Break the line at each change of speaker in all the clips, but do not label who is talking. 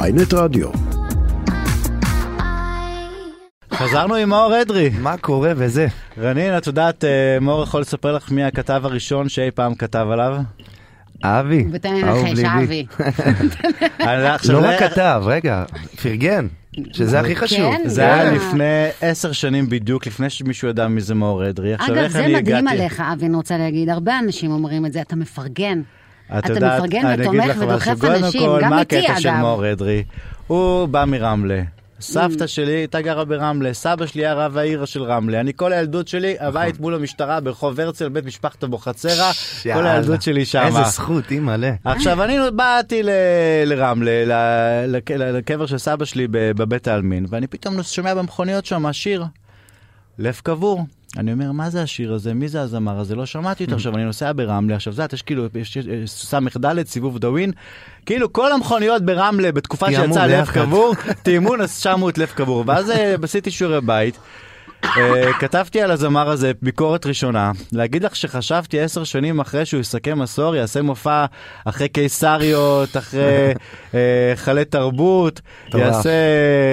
ויינט רדיו.
חזרנו עם מאור אדרי.
מה קורה וזה?
רנין, את יודעת, אה, מאור יכול לספר לך מי הכתב הראשון שאי פעם כתב עליו?
אבי,
ותן
אהוב
לנחש,
ליבי.
אבי.
אני עכשיו-
לא
זה-
רק כתב, רגע, פרגן, שזה הכי חשוב.
כן,
זה היה
אה.
לפני עשר שנים בדיוק, לפני שמישהו ידע מי זה מאור אדרי. עכשיו,
אגב,
איך
זה
אני
מדהים
הגעתי?
עליך, אבי, אני רוצה להגיד. הרבה אנשים אומרים את זה, אתה מפרגן.
את
אתה
יודעת,
מפרגן
אני
ותומך
אגיד לך
ודוחף
משהו. קודם
אנשים,
כל,
גם
מה
איתי,
הקטע של
אגב.
מאור אדרי? הוא בא מרמלה.
Mm.
סבתא שלי הייתה גרה ברמלה, סבא שלי היה רב העיר של רמלה. אני כל הילדות שלי,
נכון.
הבית מול המשטרה ברחוב הרצל, בית משפחת אבוחצירא, כל
יאללה.
הילדות שלי שמה.
איזה זכות, אימא'לה.
עכשיו, אני באתי ל- לרמלה, ל- לק- לקבר של סבא שלי ב- בבית העלמין, ואני פתאום שומע במכוניות שם שיר, לב קבור. אני אומר, מה זה השיר הזה? מי זה הזמר הזה? לא שמעתי
Mm.
אותו. עכשיו, אני נוסע ברמלה, עכשיו זה, את- יש כאילו, יש יש- יש ס"ד, סיבוב דאווין, כאילו כל המכוניות ברמלה בתקופה
תיאמו
שיצא לב
ביחד.
קבור, תיאמו, אז שמו את לב קבור. ואז אה, עשיתי שיעורי בית. אה, כתבתי על הזמר הזה ביקורת ראשונה, להגיד לך שחשבתי עשר שנים אחרי שהוא יסכם עשור, יעשה מופע אחרי קיסריות, אחרי אה, חלי תרבות,
מטורף.
יעשה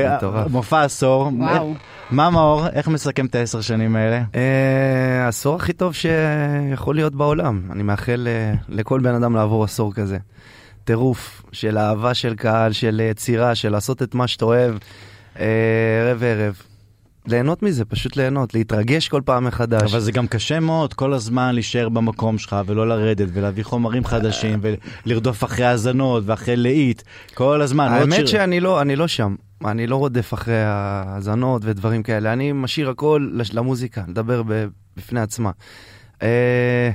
אה,
מטורף.
מופע עשור.
וואו.
מה מאור, איך מסכם את העשר שנים האלה?
אה, העשור הכי טוב שיכול להיות בעולם. אני מאחל אה, לכל בן אדם לעבור עשור כזה. טירוף של אהבה של קהל, של יצירה, של לעשות את מה שאתה אוהב, אה, ערב ערב. ליהנות מזה, פשוט ליהנות, להתרגש כל פעם מחדש.
אבל זה גם קשה מאוד כל הזמן להישאר במקום שלך ולא לרדת ולהביא חומרים חדשים
אה.
ולרדוף אחרי האזנות ואחרי להיט, כל הזמן. עוד שיר.
האמת שאני לא, אני לא שם. אני לא רודף אחרי האזנות ודברים כאלה. אני משאיר הכל לש- למוזיקה, לדבר ב- בפני עצמה. אה,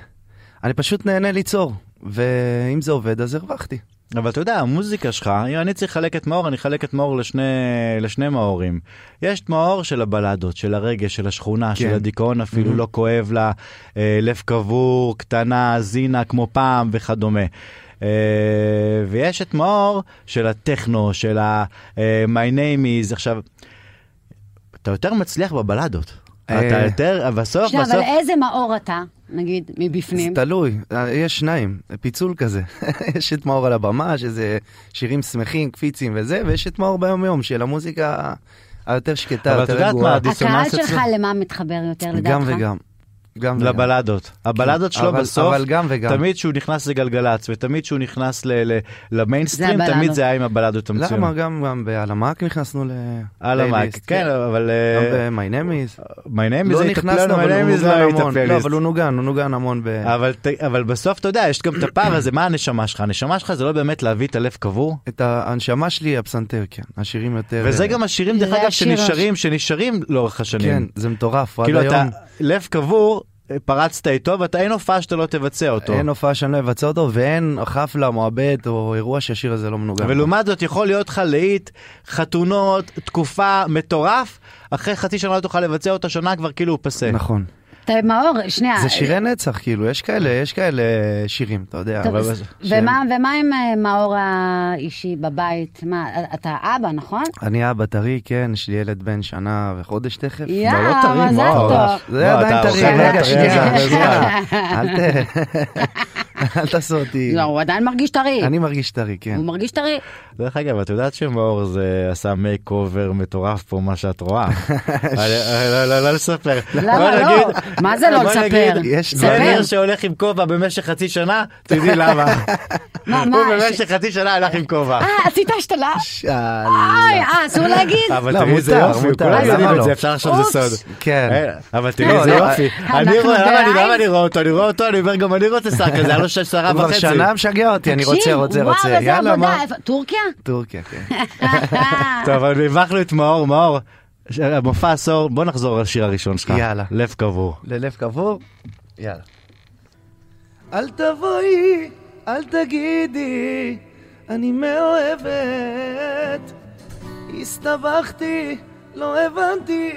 אני פשוט נהנה ליצור, ואם זה עובד, אז הרווחתי.
אבל אתה יודע, המוזיקה שלך, אם אני צריך לחלק את מאור, אני אחלק את מאור לשני, לשני מאורים. יש את מאור של הבלדות, של הרגש, של השכונה, כן. של הדיכאון אפילו, mm-hmm. לא כואב לה, אה, לב קבור, קטנה, זינה, כמו פעם וכדומה. אה, ויש את מאור של הטכנו, של ה... אה, My name is, עכשיו, אתה יותר מצליח בבלדות.
אה.
אתה יותר, בסוף,
שנייה, אבל אה-
בסוף...
איזה מאור אתה, נגיד, מבפנים?
זה תלוי, אה, יש שניים, פיצול כזה. יש את מאור על הבמה, שזה שירים שמחים, קפיצים וזה, ויש את מאור ביום-יום, של המוזיקה היותר שקטה,
אבל את
יותר
יודעת מה,
רגועה.
הקהל
הדיסוננס
שלך
אצלך?
למה מתחבר יותר, לדעתך?
גם וגם. גם וגם.
לבלדות. הבלדות שלו
כן. אבל-
בסוף,
אבל גם וגם.
תמיד שהוא נכנס לגלגלצ, ותמיד שהוא נכנס ל- ל- למיינסטרים,
זה הבלדות.
תמיד זה היה עם הבלדות
למה?
המצוינות.
גם גם בעל המאק נכנסנו ל...
על המייק,
פלייליסט,
כן, אבל...
גם
אה,
ב-My Name is.
My name is
לא
it,
נכנסנו,
my
אבל הוא
name is
נוגן
לא it,
המון. לא,
הפלייליסט.
אבל הוא נוגן, הוא נוגן המון ב...
אבל ת- אבל בסוף אתה יודע, יש גם את הפער הזה, מה הנשמה שלך? הנשמה שלך זה לא באמת להביא את הלב קבור?
את ההנשמה שלי, הפסנתר, כן. השירים יותר...
וזה
אה,
גם השירים, דרך
זה
אגב,
השיר הש-
שנשארים, שנשארים לאורך
כן,
השנים.
זה מטורף, עד
כאילו אתה,
היום.
לב קבור, אה, פרצת איתו, ואתה אין הופעה שאתה לא תבצע אותו.
אין הופעה שאני לא אבצע אותו, ואין חפלה, מועבד או אירוע שהשיר הזה לא מנוגן.
ולעומת זאת יכול להיות לך להיט, חתונות, תקופה, מטורף, אחרי חצי שנה לא תוכל לבצע אותה שנה כבר כאילו הוא פסה.
נכון.
אתה מאור, שנייה. אה,
זה שירי נצח, כאילו, יש כאלה, יש כאלה שירים, אתה יודע.
טוב,
אבל-
אז-
ש-
ומה ומה עם אה, מאור האישי בבית? מה, אתה אבא, נכון?
אני אבא טרי, כן, יש לי ילד בן שנה וחודש תכף.
יא,
אבל לא טרי,
מזל
מאור.
טוב.
זה
לא,
עדיין
אתה
טרי,
אוכל
רגע,
טרי,
שנייה,
אבל
רגע. אל ת- אל תעשו אותי.
לא, הוא עדיין מרגיש טרי.
אני מרגיש טרי, כן.
הוא מרגיש טרי.
דרך אגב, את יודעת שמאור זה עשה מייק אובר מטורף פה, מה שאת רואה. אבל- לא, לא, לא לספר. בוא
למה לא?
נגיד-
מה זה לא
בוא
לספר?
נגיד,
יש
זה
ספר.
ניר שהולך עם כובע במשך חצי שנה, תדעי למה.
מה, מה?
הוא במשך חצי שנה הלך עם כובע.
אה, עשית השתלה?
שאל.
אוי, אה, אסור להגיד?
אבל
לא,
תראי איזה
מותר,
יופי,
מותר,
כולם
למה
יודעים את
לא?
זה, אפשר לחשוב שזה
אופס.
סוד.
כן.
אה, אבל תראי
לא,
איזה
לא,
יופי.
אנחנו
אני רואה, למה אני-
בלייב?
למה אני רואה אותו? אני רואה אותו, אני אומר גם אני רוצה שר כזה, היה לו שש שרה
כבר
וחצי.
שנה משגע אותי, אני רוצה,
תקשיב,
רוצה,
וואו,
רוצה.
איזה
יאללה,
עבודה,
מה?
איפה- טורקיה?
טורקיה, כן.
טוב, אבל הבכנו את מאור, מאור, ש- מופע עשור, בוא נחזור לשיר הראשון שלך.
יאללה.
לב קבור.
ללב קבור? יאללה. אל תבואי, אל תגידי, אני מאוהבת. הסתבכתי, לא הבנתי,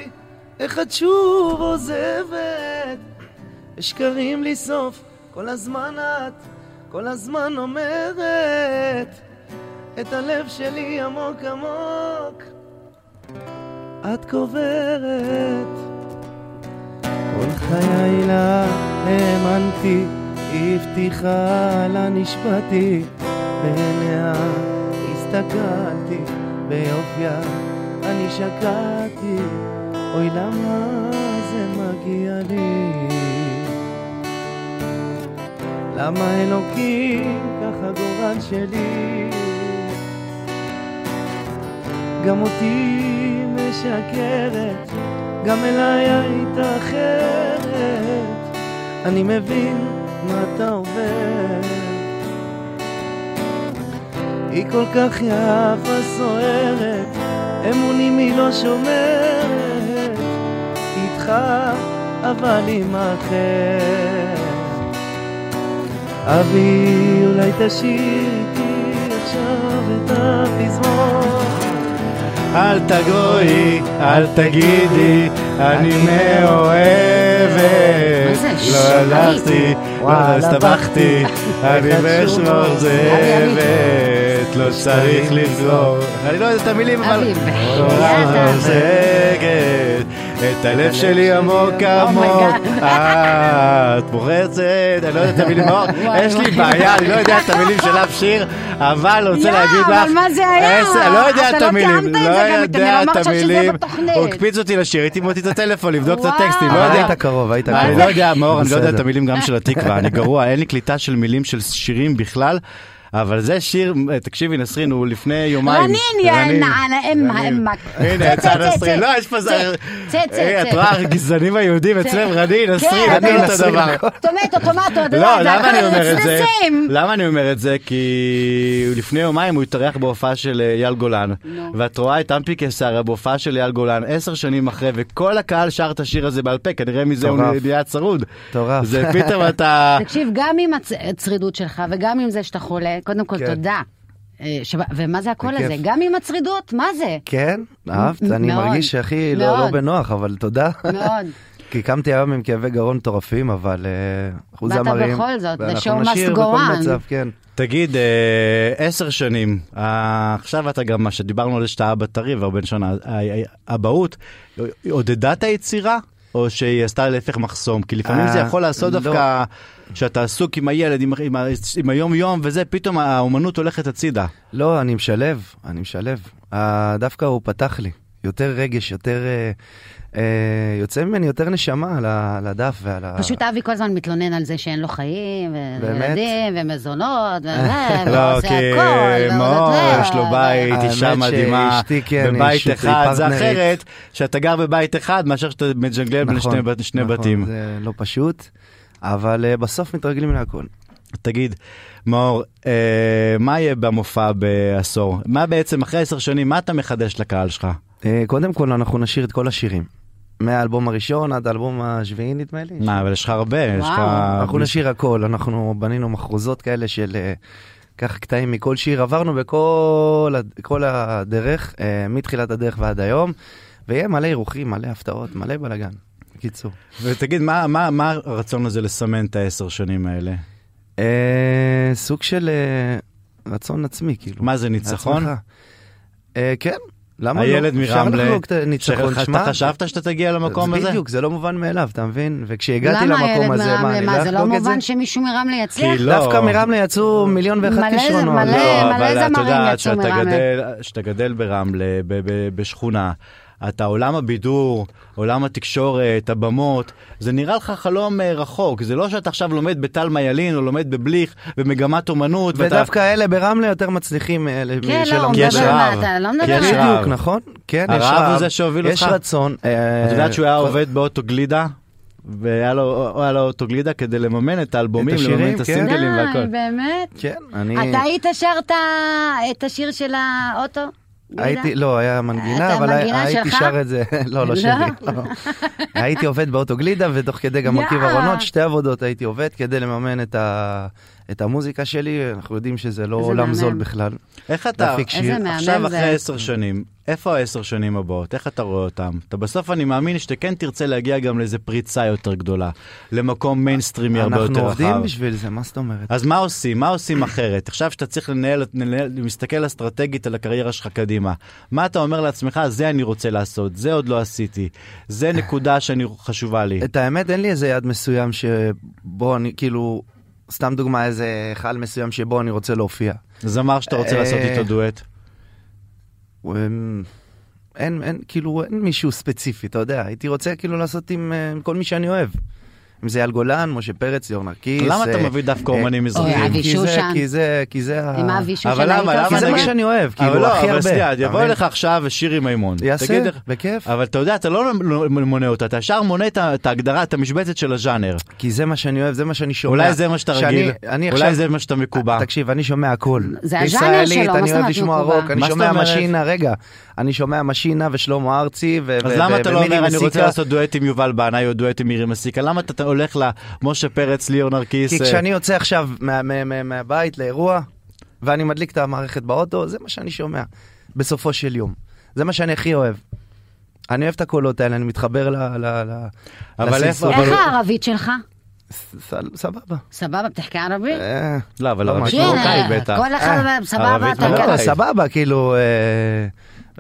איך את שוב עוזבת. שקרים לי סוף, כל הזמן את, כל הזמן אומרת. את הלב שלי עמוק עמוק, את קוברת. כל חיי לה האמנתי, היא הבטיחה לה נשבעתי, בעיניה הסתכלתי. הסתכלתי ביופיה, אני שקעתי, אוי למה זה מגיע לי? למה אלוקים ככה גורל שלי? גם אותי משקרת, גם אליי היית אחרת, אני מבין מה אתה עובר. היא כל כך יפה סוערת, אמונים היא לא שומרת, איתך אבל עם אחר. אבי, אולי תשאיר איתי עכשיו את הפזמון.
אל תגועי, אל תגידי, אני מאוהבת.
מה זה? ש-
לא הלכתי, לא
וואלה,
הסתבכתי, אני בשמור
אבי,
זאבת. לא צריך לסגור. אני לא יודע את המילים, אבל...
אבי,
תורה
בחייאת,
מוזגת, את הלב שלי
Oh
עמוק עמוק,
אומייגאד.
את מורצת, אני לא יודע את המילים, מאור,
וואי,
יש לי
וואי.
בעיה, אני לא יודע את המילים של אף שיר, אבל רוצה
לא,
להגיד לך,
אבל מה זה היה?
עשר- אני לא יודע
אתה
את
לא
המילים,
תיאמת את
לא
זה גם, אתה
יודע
גם אמרת
את
שזה
המילים,
בתוכנית.
הוא הקפיץ אותי לשיר, הייתי מוציא את הטלפון לבדוק את
וואו.
הטקסטים, לא
אבל
יודע.
היית קרוב, היית
אני
קרוב.
לא יודע, מאור, אני לא יודע את
בסדר.
המילים גם של התקווה, אני גרוע, אין לי קליטה של מילים של שירים בכלל. אבל זה שיר, אה, תקשיבי נסרין, הוא לפני יומיים.
רנין, יא נענה, אה, אמה,
רנין.
אמה.
הנה,
צא,
יצא
צא,
נסרין.
צא,
לא, יש פה...
צא,
זה-
צא, צא, כן,
אה, את
צא.
רואה, הגזענים היהודים אצלם רנין, נסרין, אני
אתה יודע.
אותו דבר.
טומטו, טומטו, אתה
לא,
יודע, זה
למה
הכל
אני אומר את זה?
נצנצים.
למה אני אומר את זה? כי לפני יומיים הוא התארח בהופעה של אה, אייל גולן,
נו.
ואת רואה את אמפי קיסריה בהופעה של אייל גולן עשר שנים אחרי, וכל הקהל שר את השיר הזה בעל פה, כנראה מזה הוא
מטורף.
נהיה צרוד.
מטורף.
זה פתאום אתה...
תקשיב, גם עם הצ- הצרידות שלך וגם עם זה שאתה חולה, קודם כל
כן.
תודה. אה, שבא- ומה זה הקול
בכיף.
הזה? גם עם הצרידות, מה זה?
כן, אהבת?
מ-
אני
מאוד,
מרגיש שהכי לא לא
מאוד.
בנוח, אבל תודה.
מאוד.
כי קמתי היום עם כאבי גרון מטורפים, אבל אה, אחוז
באת
המרים.
בכל זאת, the
ואנחנו
show must
נשיר
go
בכל
on.
מצב, כן.
תגיד, אה, עשר שנים, אה, עכשיו אתה גם, מה שדיברנו על זה שאתה אבא טרי והבן שנה, אה, אבהות, עודדה את היצירה? או שהיא עשתה להפך מחסום? כי לפעמים
אה,
זה יכול לעשות
לא.
דווקא שאתה עסוק עם הילד, עם- עם ה- עם היום-יום וזה, פתאום האומנות הולכת הצידה.
לא, אני משלב, אני משלב. אה, דווקא הוא פתח לי. יותר רגש, יותר... אה, אה, יוצא ממני יותר נשמה על ה- על הדף ועל
אה.
ה...
פשוט אבי כל הזמן מתלונן על זה שאין לו חיים, ו-
באמת?
וילדים, ומזונות, וזה,
לא,
ועושה
כי
כן, הכל, לא,
מאור,
ועושה-
יש לו בית,
האמת
אישה מדהימה,
שאשתי, כן,
בבית
אישית, היא
אחד, זה
פרטנרית.
אחרת, שאתה גר בבית אחד מאשר שאתה מג'נגל בין
נכון,
שני בת- שני
נכון,
בתים.
זה לא פשוט, אבל אה, בסוף מתרגלים להכל.
תגיד, מאור, אה, מה יהיה במופע בעשור? מה בעצם, אחרי עשר שנים, מה אתה מחדש לקהל שלך?
אה, קודם כל, אנחנו נשיר את כל השירים. מהאלבום הראשון עד האלבום השביעי, נדמה לי.
מה, אבל יש לך הרבה, יש לך...
וואו,
אנחנו נשיר הכל, אנחנו בנינו מחרוזות כאלה של אה, ככה קטעים מכל שיר, עברנו בכל ה- כל הדרך, אה, מתחילת הדרך ועד היום, ויהיה מלא אירוחים, מלא הפתעות, מלא בלאגן. בקיצור.
ותגיד, מה, מה, מה הרצון הזה לסמן את העשר שנים האלה?
אה, סוג של אה, רצון עצמי, כאילו.
מה זה, ניצחון?
הצלחה. אה, כן, למה לא?
הילד
אפשר
מרמלה,
לחלוק את הניצחון,
שאתה
שמע,
חשבת שאתה תגיע למקום הזה?
בדיוק, זה לא מובן מאליו, אתה מבין? וכשהגעתי למקום הזה,
למה
מה,
הילד
אני
מרמלה? מה, זה לא
לחגוג את זה?
מובן שמישהו מרמלה יצליח?
כי לא-
דווקא מרמלה יצאו מיליון ואחת
מלא,
כישרונות.
מלא.
לא,
מלא
אבל את
זמרים
יודעת
יצאו
שאתה
מרמלה.
גדל, שאתה גדל ברמלה, ב- ב- בשכונה, אתה עולם הבידור, עולם התקשורת, הבמות, זה נראה לך חלום אה, רחוק, זה לא שאתה עכשיו לומד בטלמה ילין או לומד בבליך במגמת אומנות, ואתה-
ודווקא אלה ברמלה יותר מצליחים אה, מאלה
כן, לא, הוא
כי יש
מדבר על מה,
רעב.
אתה לא
כי
מדבר
יש
על
רעב.
מה.
בדיוק, נכון? כן, יש
הרעב הוא
רעב.
זה שהוביל
יש אה,
אותך?
רצון.
את יודעת שהוא היה עובד באוטוגלידה? והיה לו, היה לו אוטוגלידה כדי לממן את האלבומים,
את השירים,
לממן את
כן.
הסינגלים
די,
והכל.
באמת?
כן, אני...
אתה היית שר את ה- את השיר של האוטו? גלידה?
הייתי, לא, היה
אתה
מנגינה, אבל
מנגינה
הייתי
שלך?
שר את זה, לא,
לא.
לא שלי. לא. הייתי עובד באוטוגלידה, ותוך כדי גם
לא.
יאה.
מרכיב ארונות, שתי עבודות הייתי עובד כדי לממן את ה- את המוזיקה שלי, אנחנו יודעים שזה לא
איזה
עולם
מהמם.
זול בכלל.
איך אתה,
להפיק שיר.
איזה מהמם
עכשיו
זה.
אחרי עשר שנים, איפה העשר שנים הבאות? איך אתה רואה אותם? אתה בסוף, אני מאמין שאתה כן תרצה להגיע גם לאיזה פריצה יותר גדולה, למקום מיינסטרימי הרבה
אנחנו
יותר רחב.
עובדים בשביל זה, מה זאת אומרת?
אז מה עושים? מה עושים אחרת? עכשיו שאתה צריך לנהל, לנהל, להסתכל אסטרטגית על הקריירה שלך קדימה. מה אתה אומר לעצמך? זה אני רוצה לעשות, זה עוד לא עשיתי, זה נקודה שאני חשובה לי.
את האמת, אין לי איזה יעד מסוים שבו אני, כאילו, סתם דוגמה, איזה היכל מסוים שבו אני רוצה להופיע.
זמר שאתה רוצה לעשות
אה,
איתו דואט.
הוא, אמ, אין, אין, כאילו, אין מישהו ספציפי, אתה יודע, הייתי רוצה כאילו לעשות עם אה, עם כל מי שאני אוהב. אם זה אייל גולן, משה פרץ, ליאור נרקיס.
למה
אה,
אתה מביא דווקא אומנים
אוי,
מזרחים?
אבי
כי זה-
שושן.
כי זה, כי זה, ה-
עם אבי שושן
אבל למה,
היית
למה
כי זה מה
נגיד-
שאני אוהב,
אבל
כאילו,
לא,
הכי
אבל
הרבה.
שנייה,
אתה
יבוא
מבין?
אליך עכשיו שירי מימון.
יעשה,
תגיד לך-
בכיף.
אבל אתה יודע, אתה לא מונה אותה, אתה ישר מונה את ה- את ההגדרה, את המשבצת של הז'אנר.
כי זה מה שאני אוהב, זה מה שאני שומע.
אולי זה מה שאתה
שאני-
רגיל,
אני
אולי
עכשיו- אה,
זה מה שאתה מקובע.
תקשיב, אני שומע הכל.
זה הז'אנר שלו,
ישראלית,
מה
אני
זאת
אוהב
אומרת
לשמוע
מקובע?
רוק, אני
מה זאת
שומע
אומרת?
משינה, רגע. אני שומע משינה ושלמה ארצי ו-
אז
ו-
למה
ו-
אתה לא
ומיני
אומר אני רוצה
מסיקה?"
לעשות דואט עם יובל בנאי או דואט עם מירי מסיקה? למה אתה הולך למשה פרץ, ליאור נרקיס?
כי
אה,
כשאני יוצא עכשיו מה- מה- מה- מהבית לאירוע, ואני מדליק את המערכת באוטו, זה מה שאני שומע בסופו של יום. זה מה שאני הכי אוהב. אני אוהב את הקולות האלה, אני מתחבר ל... ל... ל...
אבל
לסינסון.
איפה,
איך
אבל...
הערבית שלך?
ס- ס- סבבה.
סבבה, בتحكي ערבית? אה,
אה,
לא, אבל
לא,
ערבית
מה,
מרוקאית בטח.
כן,
אה,
כל אחד אומר, סבבה,
ערבית
אתה
מרוקאית.
לא,
כן.
סבבה, כאילו... אה,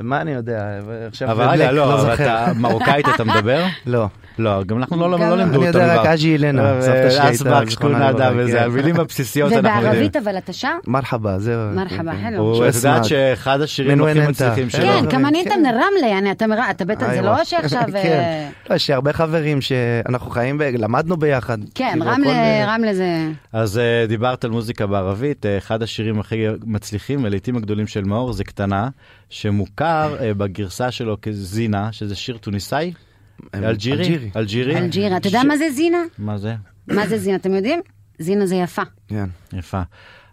מה אני יודע, עכשיו...
אבל
בבלק,
רגע, לא, אבל
זוכר.
אתה מרוקאית אתה מדבר?
לא.
לא, גם אנחנו לא-
גם
לא
לא.
לימדו
אני
אותנו.
יודע רק אג'י אילנה, סבתא שלי הייתה,
אסבק,
זיכרונה
שקונדה
לברכה,
וזה,
כן.
המילים הבסיסיות אנחנו יודעים.
ובערבית אבל אתה שר?
מרחבה, זהו.
מרחבה,
כן, כן.
hello.
הוא- את
שוסמק.
יודעת שאחד השירים
מנואל
הכי
ננטה.
מצליחים
כן,
שלו.
כן,
חברים,
כמה נהיית
כן.
מרמלה, יעני, אתה מרמלה, אתה בטח,
איי,
זה
וואי.
לא שעכשיו...
כן.
אה,
לא, יש לי הרבה חברים שאנחנו חיים, ב- למדנו ביחד.
כן,
כאילו, הכל
רמלה,
אה,
ב-
רמלה זה...
אז אה, דיברת על מוזיקה בערבית, אה, אחד השירים הכי מצליחים ולעיתים הגדולים של מאור זה קטנה, שמוכר אה, בגרסה שלו כזינה, שזה שיר תוניסאי,
אמ,
אלג'ירי, אלג'ירי,
אלג'ירה. אתה יודע מה זה זינה?
מה זה?
מה זה זינה, אתם יודעים? זינה זה יפה.
כן.
אה.
יפה.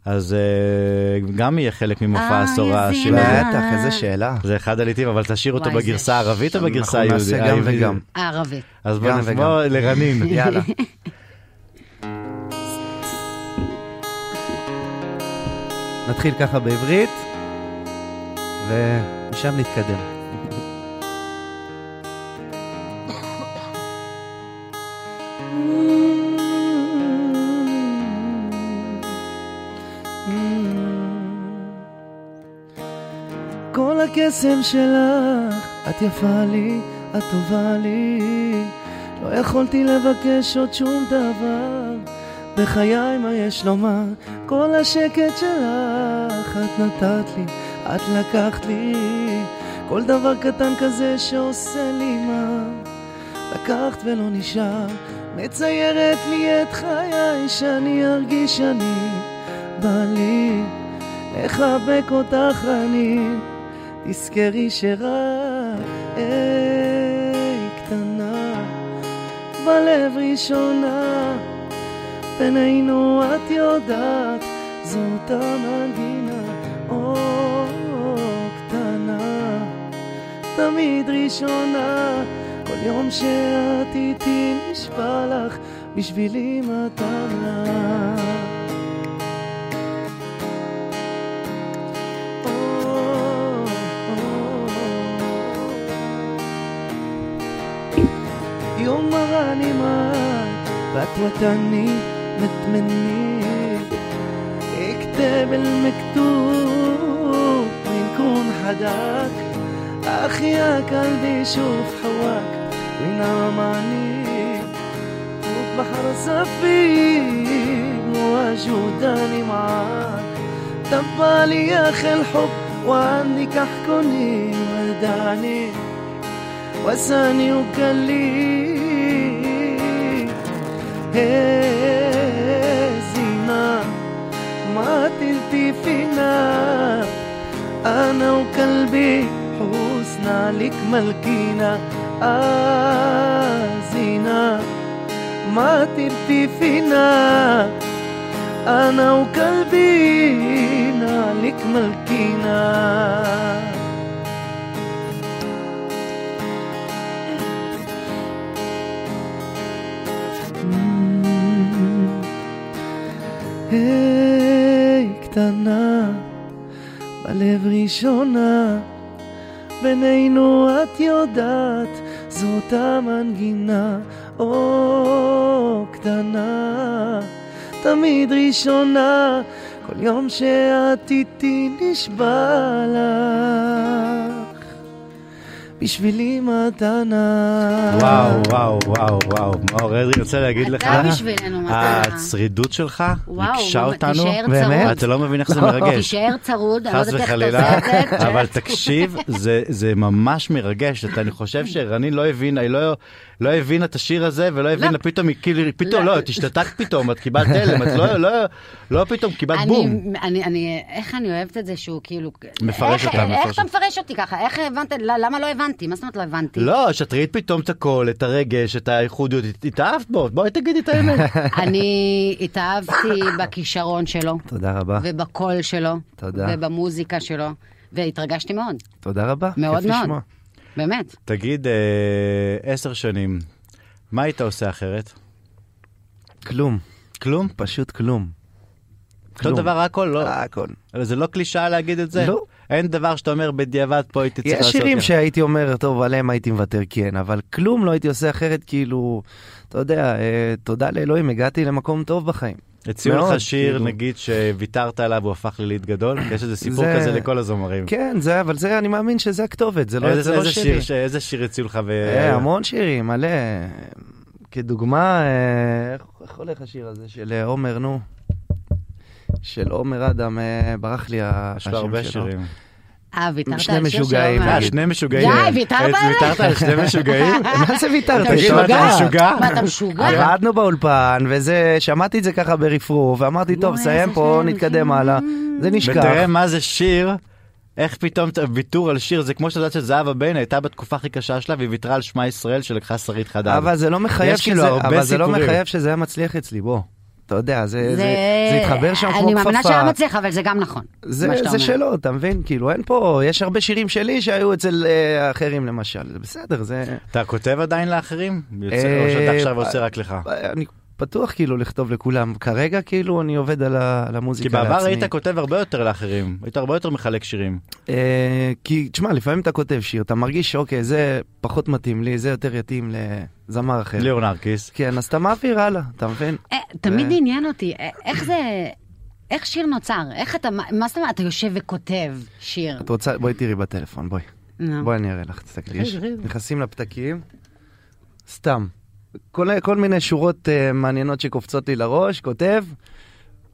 אז אה, גם יהיה חלק ממופע
אה,
העשור
יא
השני.
זינה.
בטח, איזה שאלה.
זה אחד הלעיתים, אבל תשאיר אותו
וואי,
בגרסה
זה-
הערבית או בגרסה
אנחנו
היהודית?
נעשה גם וגם.
הערבית.
אז בוא
גם
נבוא לרנין.
יאללה. נתחיל ככה בעברית, ומשם נתקדם. כל הקסם שלך, את יפה לי, את טובה לי. לא יכולתי לבקש עוד שום דבר. בחיי מה יש לומר? כל השקט שלך, את נתת לי, את לקחת לי. כל דבר קטן כזה שעושה לי מה. לקחת ולא נשאר. מציירת לי את חיי, שאני ארגיש אני בא לי. לחבק אותך אני, תזכרי שרק היי קטנה, בלב ראשונה, בינינו את יודעת, זאת המנגינה, או קטנה, תמיד ראשונה, כל יום שאת איתי נשבע לך, בשבילי מתנה. Oh, يوم أغاني معاك بتوترني متمنيك اكتب المكتوب ونكون حداك أخي يا قلبي شوف حواك وينام عنيك شوف بحر صفيك مواجوداني معاك طب لي أخي الحب وعندي كحكني ودعني وساني وكلي هي زينة ما تلتي فينا أنا وكلبي حسن عليك ملكينا آه زينة ما تلتي فينا أنا وكلبي عليك ملكينا היי, קטנה, בלב ראשונה, בינינו את יודעת, זאת המנגינה, או קטנה, תמיד ראשונה, כל יום שאת איתי נשבע לך. בשבילי מתנה.
וואו, וואו, וואו, וואו. מאור אדרי, רוצה להגיד לך,
אתה בשבילנו מתנה.
אה, הצרידות שלך
וואו,
ריגשה
נו,
אותנו.
תישאר צרוד.
באמת?
אתה לא מבין איך זה מרגש.
תישאר צרוד, אני לא
חס
יודעת איך אתה
וחלילה,
עושה את זה.
אבל תקשיב, זה- זה ממש מרגש, אתה- אני חושב שרני לא הבינה, היא לא- לא הבינה את השיר הזה, ולא הבינה פתאום, היא כאילו, פתאום,
לא.
לא, את השתתקת פתאום, את קיבלת הלם, את לא- לא- לא פתאום קיבלת
אני-
בום.
אני, אני, איך אני אוהבת את זה שהוא כאילו...
מפרש
איך,
אותה,
איך, איך
מפרש
אתה מפרש אותי ככה? איך הבנת? ל- למה לא הבנתי? מה זאת אומרת לא הבנתי?
לא, שאת ראית פתאום את הקול, את הרגש, את הייחודיות, הת- התאהבת בו, בואי תגידי את האמת.
אני התאהבתי בכישרון שלו,
תודה רבה,
ובקול שלו,
אה. תודה.
ובמוזיקה שלו, והתרגשתי מאוד,
תודה רבה.
מאוד
כיף
מאוד.
לשמוע.
באמת.
תגיד, אה, עשר שנים, מה היית עושה אחרת?
כלום,
כלום?
פשוט כלום.
אותו
אה,
דבר הכל? לא.
הכל.
זה לא קלישאה להגיד את זה?
לא.
אין דבר שאתה אומר בדיעבד פה הייתי צריך
יש
לעשות. כן.
שירים
ככה."
שהייתי אומר, טוב, עליהם הייתי מוותר, כן, אבל כלום לא הייתי עושה אחרת, כאילו, אתה יודע, אה, תודה לאלוהים, הגעתי למקום טוב בחיים.
הציעו
מאוד,
לך שיר,
כאילו.
נגיד, שוויתרת עליו, הוא הפך לליד גדול? כי יש איזה סיפור
זה-
כזה לכל הזמרים.
כן, זה, אבל זה, אני מאמין שזה הכתובת, זה לא
איזה-
זה לא
איזה
שלי.
שיר ש- איזה שיר הציעו לך? ו-
אה, המון שירים, מלא. כדוגמה, אה, איך- איך הולך השיר הזה של אה, עומר, נו? של עומר אדם, אה, ברח לי ה-
יש לו הרבה
השם שלו.
שירים.
אה, ויתרת
שני
על שיר שלו?
משוגעים,
מה?
מה,
נגיד.
שני משוגעים? אה,
די, ויתרת עליי?
ויתרת על שני משוגעים?
מה אה, זה ויתרת?
אתה
תגיד, מה, אתה
משוגע?
משוגע?
אה, מה, אתה משוגע?
עבדנו באולפן, וזה, שמעתי את זה ככה ברפרוף, ואמרתי, טוב,
בואי,
סיים
זה
פה,
שנייה,
נתקדם
כן.
הלאה. זה נשכח.
ותראה מה זה שיר, איך פתאום ת- ויתור על שיר, זה כמו שאת יודעת שזהבה בן הייתה בתקופה הכי קשה שלה והיא ויתרה על שמע ישראל שלקחה שרית חדד.
אבל זה לא מחייב
יש כאילו
שזה,
הרבה
אבל זה לא
סיפורים.
מחייב שזה היה מצליח אצלי, בוא. אתה יודע, אה, זה
זה-
זה- זה התחבר שם כמו
אני
כפפה.
מאמינה שהיה מצליח, אבל זה גם נכון.
זה,
מה שאתה
זה
אומר.
שלו, אתה מבין? כאילו, אין פה, יש הרבה שירים שלי שהיו אצל אה, אחרים למשל, זה בסדר, זה...
אתה כותב עדיין לאחרים? יוצא- או
אה,
שאתה עכשיו
אה,
עושה רק לך?
אני פתוח כאילו לכתוב לכולם, כרגע כאילו אני עובד על, ה, על המוזיקה
כי בעבר
לעצמי.
היית כותב הרבה יותר לאחרים, היית הרבה יותר מחלק שירים.
אה, כי, תשמע, לפעמים אתה כותב שיר, אתה מרגיש שאוקיי, זה פחות מתאים לי, זה יותר יתאים לזמר אחר.
לא.
ליאור נרקיס.
כן, אז אתה מעביר הלאה, אתה מבין?
אה, תמיד
ו-
עניין אותי, אה, איך זה... איך שיר נוצר? איך אתה... מה מה זאת אומרת? אתה יושב וכותב שיר.
את רוצה, בואי תראי בטלפון, בואי.
נו.
בואי אני אראה לך, תסתכלי. יש-
אה. רגע, רגע.
נכנסים לפתקים, סתם. כל, כל מיני שורות uh, מעניינות שקופצות לי לראש, כותב,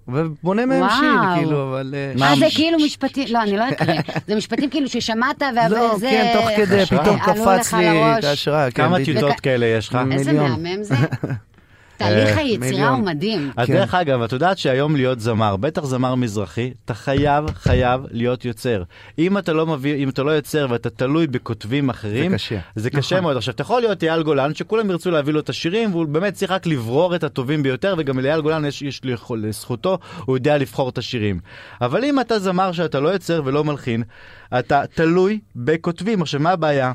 ובונה מהם
וואו.
שיר, כאילו, אבל... אה,
אה, זה
ש-
כאילו משפטים, לא, אני לא אקריא. זה משפטים כאילו ששמעת, וזה...
לא, כן, תוך כדי,
השראה.
פתאום
עלו
קפץ
לך
לי את
לראש.
ההשראה. כן,
כמה
בדיוק.
טיוטות כאלה יש לך?
מ-
איזה
מיליון. אה,
מהמם זה. תהליך היצירה
מיליון.
הוא מדהים.
אז
כן.
דרך אגב, את יודעת שהיום להיות זמר, בטח זמר מזרחי, אתה חייב, חייב להיות יוצר. אם אתה לא מביא, אם אתה לא יוצר ואתה תלוי בכותבים אחרים,
זה קשה. נכון.
זה קשה מאוד. עכשיו, אתה יכול להיות אייל גולן, שכולם ירצו להביא לו את השירים, והוא באמת צריך רק לברור את הטובים ביותר, וגם לאייל גולן יש, יש לו יכול- לזכותו, הוא יודע לבחור את השירים. אבל אם אתה זמר שאתה לא יוצר ולא מלחין, אתה תלוי בכותבים. עכשיו, מה הבעיה?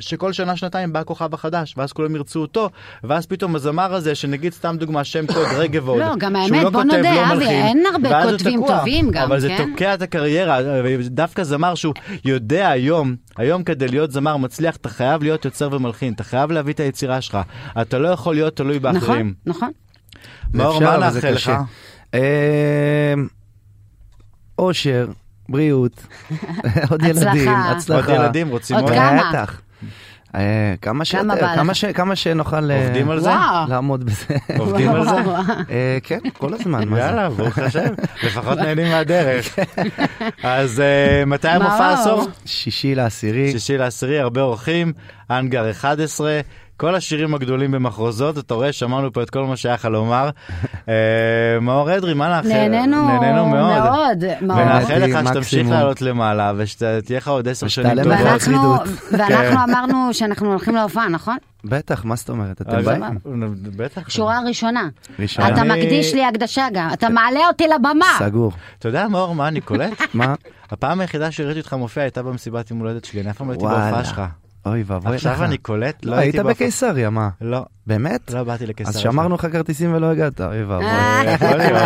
שכל שנה שנתיים בא הכוכב החדש ואז כולם ירצו אותו ואז פתאום הזמר הזה שנגיד סתם דוגמה שם קוד רגב עוד.
לא, גם
שהוא
האמת, בוא
כותב,
נודה,
לא
אבי,
מלחין,
אין הרבה
ואז הוא
כותבים
תקוע.
טובים גם,
אבל זה
כן?
תוקע את הקריירה דווקא זמר שהוא יודע היום היום כדי להיות זמר מצליח אתה חייב להיות יוצר ומלחין אתה חייב להביא את היצירה שלך אתה לא יכול להיות תלוי
נכון,
באחרים.
נכון.
מאור
אפשר,
מה
אבל זה
נאחל לך?
קשה. אמ, אושר, בריאות, עוד
הצלחה.
ילדים,
עוד
עוד
הצלחה.
ילדים רוצים
עוד
עוד?
כמה?
בטח. אה, כמה שיותר,
בא
כמה
לך?
ש- כמה שנוכל אה,
עובדים על זה?
וואו.
לעמוד בזה.
עובדים על זה?
וואו, וואו.
אה, כן, כל הזמן, מה זה?
יאללה, ברוך השם, לפחות נהנים מהדרך. אז אה, מתי המופע
מאור.
הסוף?
שישי לעשירי,
שישי לעשירי, הרבה אורחים, אנגר 11, כל השירים הגדולים במחרוזות, אתה רואה, שמענו פה את כל מה שהיה לך לומר. אה, מאור אדרי, מה נאחל?
נהנינו
נהנינו מאוד.
מאוד. מאוד.
ונאחל לך
אוקיי, מקסימום.
שתמשיך לעלות למעלה, ושתהיה לך עוד עשר שנים
ושתעלה
טובות.
בארץ.
ואנחנו,
הצמידות.
ואנחנו אמרנו שאנחנו הולכים להופעה, נכון?
כן. בטח, מה זאת אומרת? אתם
אז-
באים?
בטח.
שורה ראשונה.
ראשון.
אתה
כן. אני- אה.
מקדיש לי הקדשה גם, אתה מעלה אותי לבמה.
סגור.
אתה יודע, מאור, מה אני קולט?
מה?
הפעם היחידה שראיתי אותך מופיע הייתה במסיבת יום הולדת שלי, אני אף פעם לא הייתי
וואלה.
בהופעה שלך.
אוי ואבוי לך.
עכשיו אני קולט, לא
לא,
הייתי
היית
בהופעה.
בקיסריה, מה?
לא,
באמת?
לא באתי לקיסריה.
אז שמרנו לך כרטיסים ולא הגעת, אוי ואבוי.
אה,
יכול להיות.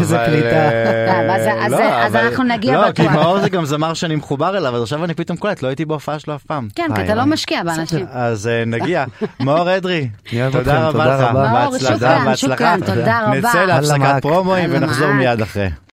איזה
אבל,
קליטה.
אה,
טוב, אז- אז-
לא,
אז
אבל-
אנחנו נגיע
לא, כי
בטוח.
מאור זה גם זמר שאני מחובר אליו, אז עכשיו אני פתאום קולט, לא הייתי בהופעה שלו אף פעם.
כן, כי
איי,
אתה לא
איי.
משקיע באנשים.
אז אה, נגיע. מאור אדרי,
אני אוהב אתכם,
תודה רבה
תודה
לך.
רבה.
מאור,
בהצלחה,
שוכרן,
בהצלחה.
שוכרן, תודה רבה.
נצא
אללה
להפסקת
מאק.
פרומואים
אללה
ונחזור
מאק.
מיד אחרי.